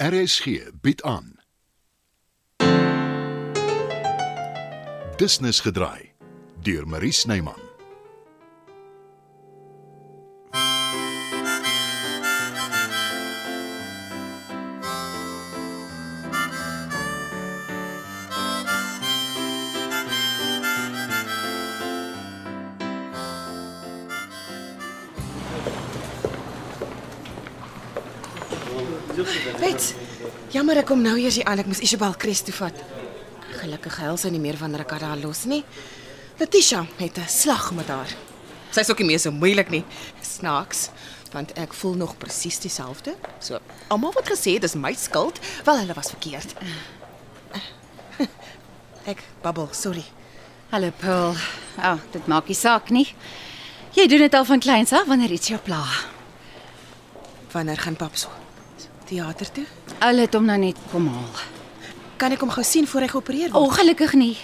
RSG bied aan. Business gedraai deur Marie Snyman. Wet. Jammer ek kom nou eers hier aan. Ek moes Isabel Kres toe vat. Gelukkig huil sy nie meer wanneer ek haar daar los nie. Letitia het 'n slag met haar. Sy's ook nie meer so moeilik nie. Snaaks, want ek voel nog presies dieselfde. So, almal wat gesê het dis my skuld, wel hulle was verkeerd. Ek babbel, sorry. Hallo Paul. Ag, oh, dit maak nie saak nie. Jy doen dit al van kleins af wanneer iets jou pla. Wanneer gaan pap so? Teater toe? Hulle het hom nou net kom haal. Kan ek hom gou sien voor hy geopereer Oh. word? Ongelukkig nie.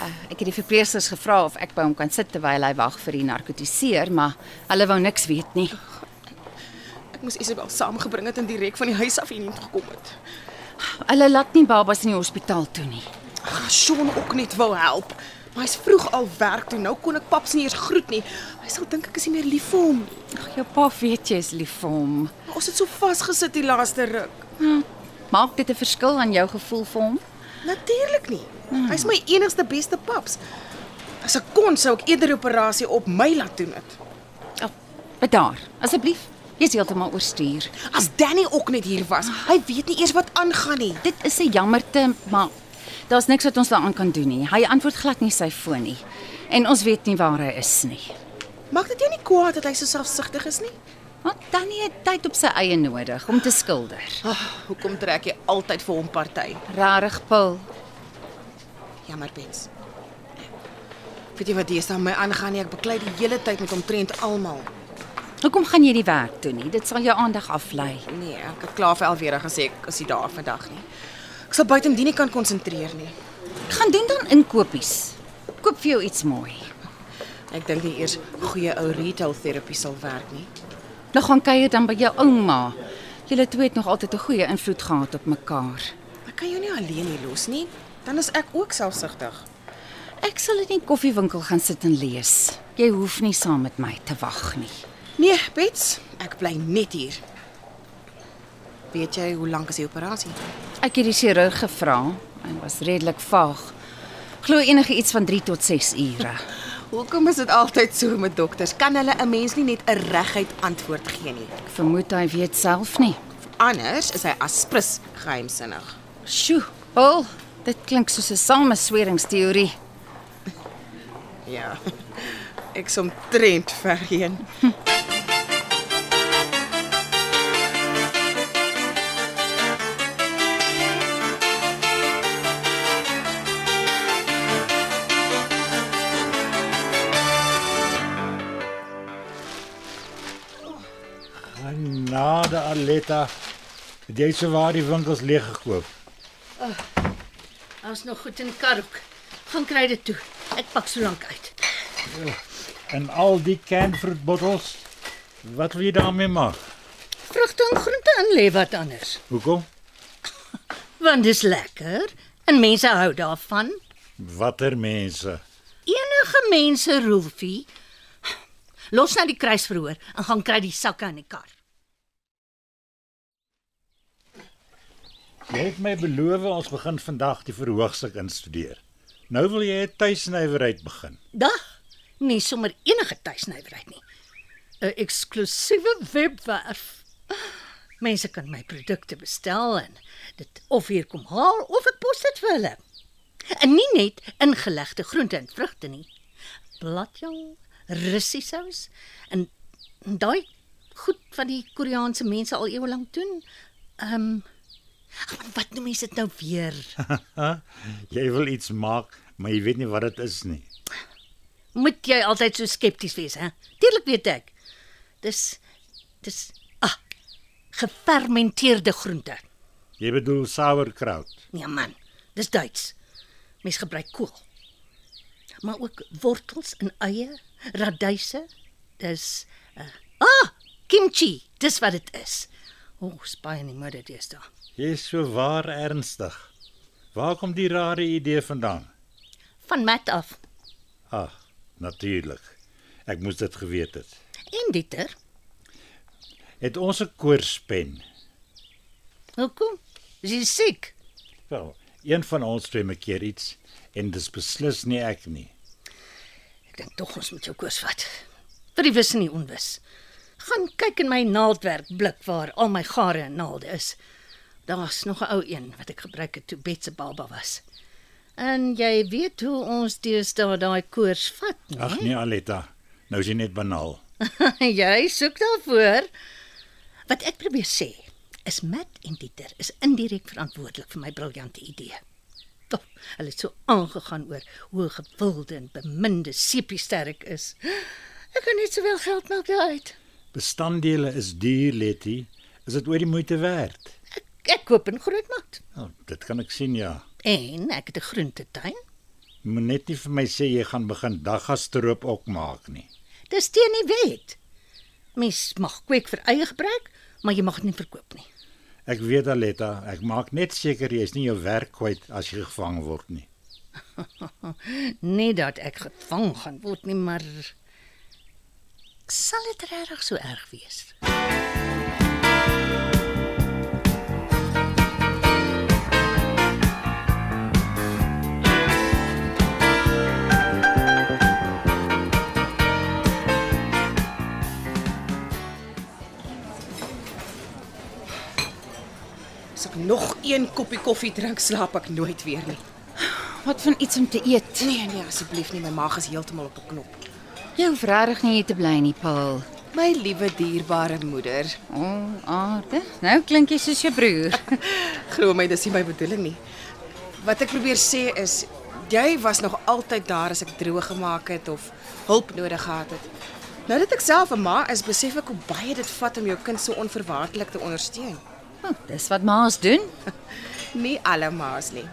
Uh, ek het die verpleegsters gevra of ek by hom kan sit terwyl hy wag vir die narkotiseer, maar hulle wou niks weet nie. Ek moes Isabel saamgebring het en direk van die huis af hierheen gekom het. Hulle laat nie babas in die hospitaal toe nie. Ag, Sean Ah, ook net wou help. Maar hy's vroeg al werk toe. Nou kon ek paps nie eers groet nie. Hy sal dink ek is nie meer lief vir hom nie. Ag, jou pa weet jy is lief vir hom. Maar ons het so vasgesit die laaste ruk. Maak dit 'n verskil aan jou gevoel vir hom? Natuurlik nie. Hy's my enigste beste paps. As ek kon sou ek eerder die operasie op my laat doen het. Oh, bedaar, asseblief. Jy's heeltemal oorstuur. As Danny ook net hier was, hy weet nie eers wat aangaan nie. Dit is 'n jammerte, maar daar's niks wat ons daaraan kan doen nie. Hy antwoord glad nie sy foon nie. En ons weet nie waar hy is nie. Maak dit jou nie kwaad dat hy so selfsugtig is nie? Want Tannie het tyd op sy eie nodig om te skilder. Ag, Ah, hoekom trek jy altyd vir hom party? Rarig pil. Jammer, Bets. Weet jy wat hier staan my aangaan nie? Ek beklei die hele tyd met omtrent almal. Hoekom gaan jy die werk toe nie? Dit sal jou aandag aflei. Nee, ek het klaar vir Elwera gesê ek is nie daar vandag nie. Ek sal buite om die nie kan konsentreer nie. Gaan doen dan inkopies. Koop vir jou iets mooi. Ek dink nie eers goeie ou retail terapie sal werk nie. Nou gaan kuier dan by jou ouma. Julle twee het nog altyd 'n goeie invloed gehad op mekaar. Ek kan jou nie alleen hier los nie. Dan is ek ook selfsugtig. Ek sal in die koffiewinkel gaan sit en lees. Jy hoef nie saam met my te wag nie. Nee, Bets, ek bly net hier. Weet jy hoe lank is die operasie? Ek het die chirurg gevra en was redelik vaag. Glo enige iets van 3 tot 6 ure. Hoekom is dit altyd so met dokters? Kan hulle 'n mens nie net 'n reguit antwoord gee nie? Ek vermoed hy weet self nie. Anders is hy aspres geheimsinnig. Sjoe, Paul, dit klink soos 'n samesweringsteorie. Ja. Ek som trend verheen. Genade Aletta. Het jy sowaar die winkels leeg gekoop? Ons nog goed in Kark. Gaan kry dit toe. Ek pak so lank uit. En al die canned fruit bottles? Wat wil jy daarmee maak? Vrugte en groente in lê wat anders. Hoekom? Want dis lekker en mense hou daarvan. Watter mense? Enige mense, Rolfie. Los nou die kruisverhoor en gaan kry die sakke in die kar. Jy het my beloof ons begin vandag die verhoogstuk instudeer. Nou wil jy 'n tuisnywerheid begin. Dag. Nie sommer enige tuisnywerheid nie. 'n Eksklusiewe webwerf. Mense kan my produkte bestel en dit of hier kom haal of ek pos dit vir hulle. En nie net ingelegde groente en vrugte nie. Bladjong, russiesous en daai goed wat die Koreaanse mense al eeue lank doen. Ehm um, ag, maar wat noem mense dit nou weer? Jy wil iets maak, maar jy weet nie wat dit is nie. Moet jy altyd so skepties wees, hè? Tuurlik weet ek. Dis dis ah gefermenteerde groente. Jy bedoel sauerkraut. Nee man, dis Duits. Mens gebruik kool. Maar ook wortels en eie, radyse. Dis eh, uh, ah kimchi, dis wat dit is. O, oh, spaai nie maar dit is daar. Jy is so waar ernstig. Waar kom die rare idee vandaan? van Matt af. Ag, natuurlik. Ek moes dit geweet het. En Dieter, Het ons 'n koorspen? hoekom? Is jy siek? Wel, een van ons twee maak keer iets en dis beslis nie ek nie. Ek dink tog ons moet jou koers vat. Vir die wis en die onwis. Gaan kyk in my naaldwerkblik waar al my gare en naalde is. Daar's nog 'n ou een wat ek gebruik het toe Bet se baba was. En jy weet hoe ons deesdae daai koers vat, nie? Ag nee, Aletta. Nou is jy net banaal. Ja, jy soek daarvoor. Wat ek probeer sê, is Matt en Dieter is indirek verantwoordelik vir my briljante idee. Toch, hulle het so aangegaan oor hoe gewilde en beminde Sepie sterk is. Ek kan net sowel geld maak daaruit. Bestanddele is duur, Letty. Is dit oor die moeite werd? Ek, ek koop in Grootmarkt Nou, dit kan ek sien ja. en ek het 'n groentetuin. Jy Moet net nie vir my sê jy gaan begin daggasteroop ook maak nie. Dis teen die wet. Mens mag kweek vir eie gebruik, maar jy mag dit nie verkoop nie. Ek weet Aletta, ek maak net seker jy's nie jou werk kwyt as jy gevang word nie. Nie dat ek gevang gaan word nie, maar sal dit regtig so erg wees? As ek nog een koppie koffie drink, slaap ek nooit weer nie. Wat van iets om te eet? Nee nee, asseblief nie, my maag is heeltemal op 'n knop. Jy hoef regtig nie hier te bly nie, Paul. My liewe dierbare moeder, O, oh, aarde. Nou klink jy soos jou broer. glo my dis nie my bedoeling nie. Wat ek probeer sê is jy was nog altyd daar as ek droog gemaak het of hulp nodig gehad het. Nou dat ek self 'n ma is, besef ek hoe baie dit vat om jou kind so onverwaarlik te ondersteun. Oh, dis wat ma's doen. Nie alle ma's nie.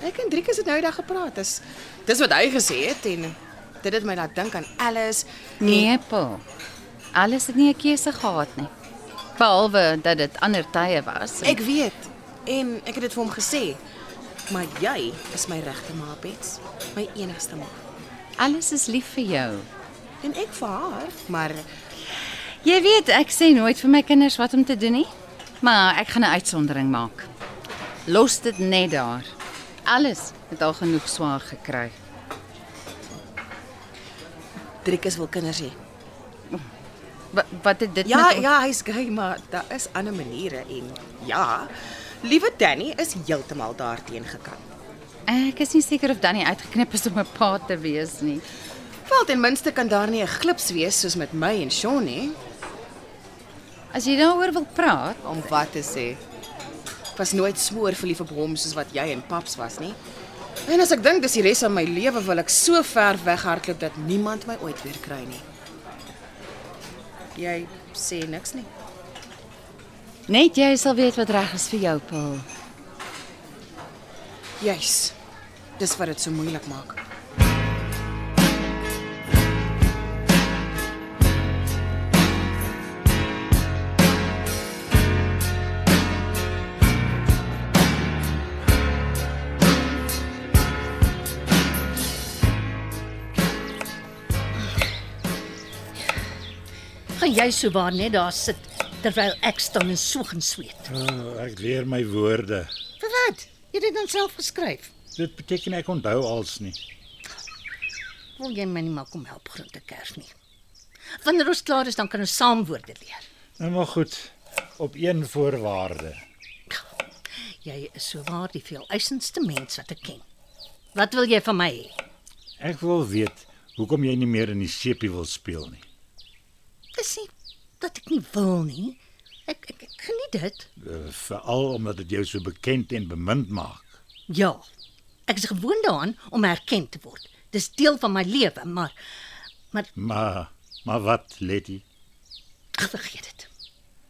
Ek en Driek het nou eendag gepraat. Dis dis wat hy gesê het en dit het my laat dink aan Alice. Nee, Paul. Alles het nie 'n keuse gehad nie. Behalwe dat dit ander tye was. Ek weet en ek het dit vir hom gesê. Maar jy is my regte ma, Bets. My enigste ma. alles is lief vir jou. En ek vir haar, maar Jy weet, ek sê nooit vir my kinders wat om te doen nie, maar ek gaan 'n uitsondering maak. Los dit net daar. Alles het al genoeg swaar gekry. Driekus wil kinders hê. Wat wat het dit Ja, met ons- ja, hy's gay, maar daar is ander maniere en ja, liewe Danny is heeltemal daarteen gekant. Ek is nie seker of Danny uitgeknip is om 'n pa te wees nie. Wel ten minste kan daar nie 'n glips wees soos met my en Sean nie, As jy daaroor wil praat, om wat te sê. Ek was nooit smoor verlief op hom soos wat jy en paps was nie. En as ek dink dis die res van my lewe wil ek so ver weghardloop dat niemand my ooit weer kry nie. Jy sê niks nie. net jy sal weet wat reg is vir jou, Paul. Juis. Dis wat dit so moeilik maak. Gaan jy so waar net daar sit terwyl ek staan en soeg en sweet? Oh, ek leer my woorde. Vir wat? Jy het dit dan self geskryf. Dit beteken ek onthou als nie. Wil jy my nie maar kom help groente kers nie? Wanneer ons klaar is, dan kan ons saam woorde leer. Nou maar goed, op een voorwaarde. Jy is so waar die veel eisendste mens wat ek ken. Wat wil jy van my hê? Ek wil weet hoekom jy nie meer in die sepie wil speel nie. Dis nie dat ek nie wil nie. Ek ek, ek geniet dit. Uh, Veral omdat dit jou so bekend en bemind maak. Ja. Ek is gewoond daaraan om erken te word. Dis deel van my lewe, maar maar Maar maar wat, Letty? ag, vergeet dit.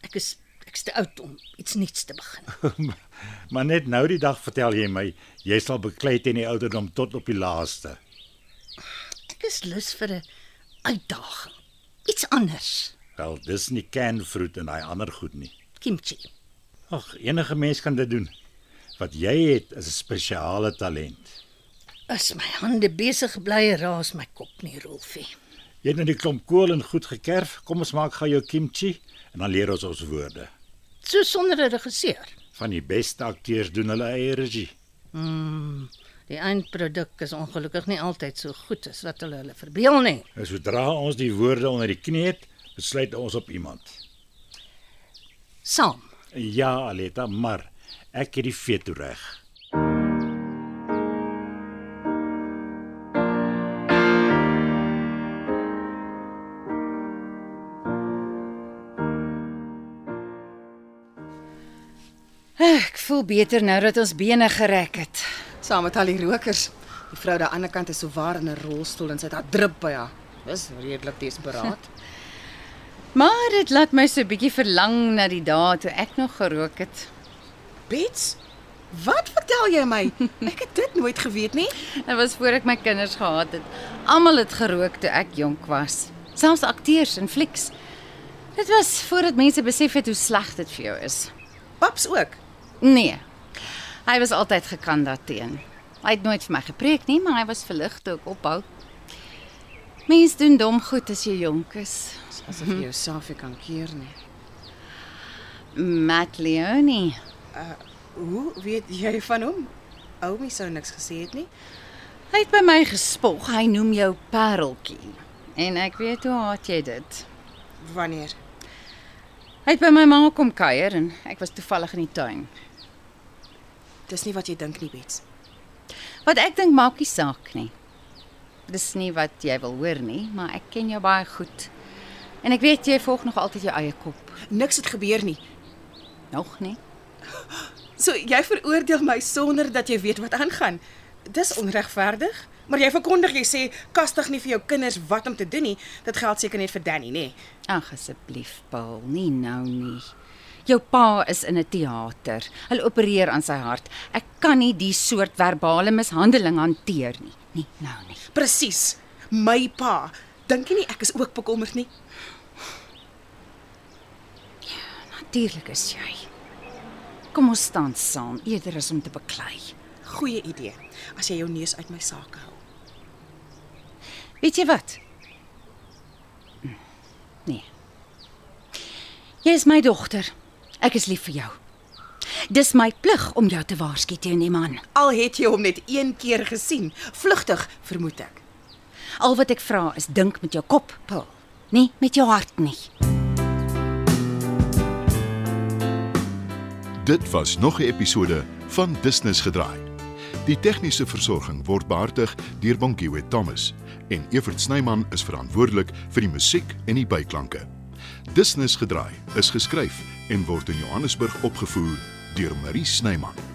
Ek is ek's te oud om iets nuuts te begin. maar net nou die dag vertel jy my jy sal beklei teen die ouderdom tot op die laaste. Ek is lus vir 'n uitdaging. Iets anders. Wel, dis nie canned fruit en daai ander goed nie. Kimchi. Ag, enige mens kan dit doen. Wat jy het is 'n spesiale talent. As my hande besig bly, raas my kop nie, Rolfie. Jy het nou die klomp kool en goed gekerf. Kom ons maak gou jou kimchi en dan leer ons ons woorde. So sonder 'n regisseur. Van die beste akteurs doen hulle eie regie. Mm, die eindproduk is ongelukkig nie altyd so goed as wat hulle hulle verbeel nie. En sodra ons die woorde onder die knie het, besluit ons op iemand. Saam. Ja, Aletta, maar ek het die veto reg. Ek voel beter nou dat ons bene gereg het. Saam met al die rokers. Die vrou daar aan die ander kant is so waar in 'n rolstoel en sy het haar drup by haar. Dis redelik desperaat. Maar dit laat my so 'n bietjie verlang na die dae toe ek nog gerook het. Bets, wat vertel jy my? Ek het dit nooit geweet nie. Dit was voor ek my kinders gehad het. Almal het gerook toe ek jonk was. Selfs akteurs in flieks. Dit was voordat mense besef het hoe sleg dit vir jou is. Paps ook. Nee. Hy was altyd gekant daarteen. Hy het nooit vir my gepreek nie, maar hy was verlig toe ek ophou. Mense doen dom goed as jy jonk is. Dis Asof jy jouself nie kan keer nie. Matt Leone. Hoe weet jy van hom? Oumi sou niks gesê het nie. Hy het by my gespog. Hy noem jou pareltjie. En ek weet hoe haat jy dit. Wanneer? Hy het by my ma kom kuier en ek was toevallig in die tuin. Dis nie wat jy dink nie, Bets. Wat ek dink maak nie saak nie. Dis nie wat jy wil hoor nie, maar ek ken jou baie goed. En ek weet jy volg nog altyd jou eie kop. Niks het gebeur nie. Nog nie. So jy veroordeel my sonder dat jy weet wat aangaan. Dis onregverdig. Maar jy verkondig jy sê kastig nie vir jou kinders wat om te doen nie. Dit geld seker net vir Danny, nê? Ag asseblief, Paul, nie nou nie. Jou pa is in 'n teater. Hulle opereer aan sy hart. Ek kan nie die soort verbale mishandeling hanteer nie. Nie nou nie. Presies. My pa. Dink jy nie ek is ook bekommerd nie? Natuurlik is jy. Kom ons staan saam eerder as om te beklei. Goeie idee. As jy jou neus uit my sake hou. Weet jy wat? Nee. Jy is my dogter. Ek is lief vir jou. Dis my plig om jou te waarsku teen die man. Al het jy hom net een keer gesien, vlugtig vermoed ek. Al wat ek vra is dink met jou kop, Paul, nie met jou hart nie. Dit was nog 'n episode van Business gedraai. Die tegniese versorging word behartig deur Bonnie Witt Thomas en Evert Snyman is verantwoordelik vir die musiek en die byklanke. Business gedraai is geskryf en word in Johannesburg opgevoer deur Marie Snyman.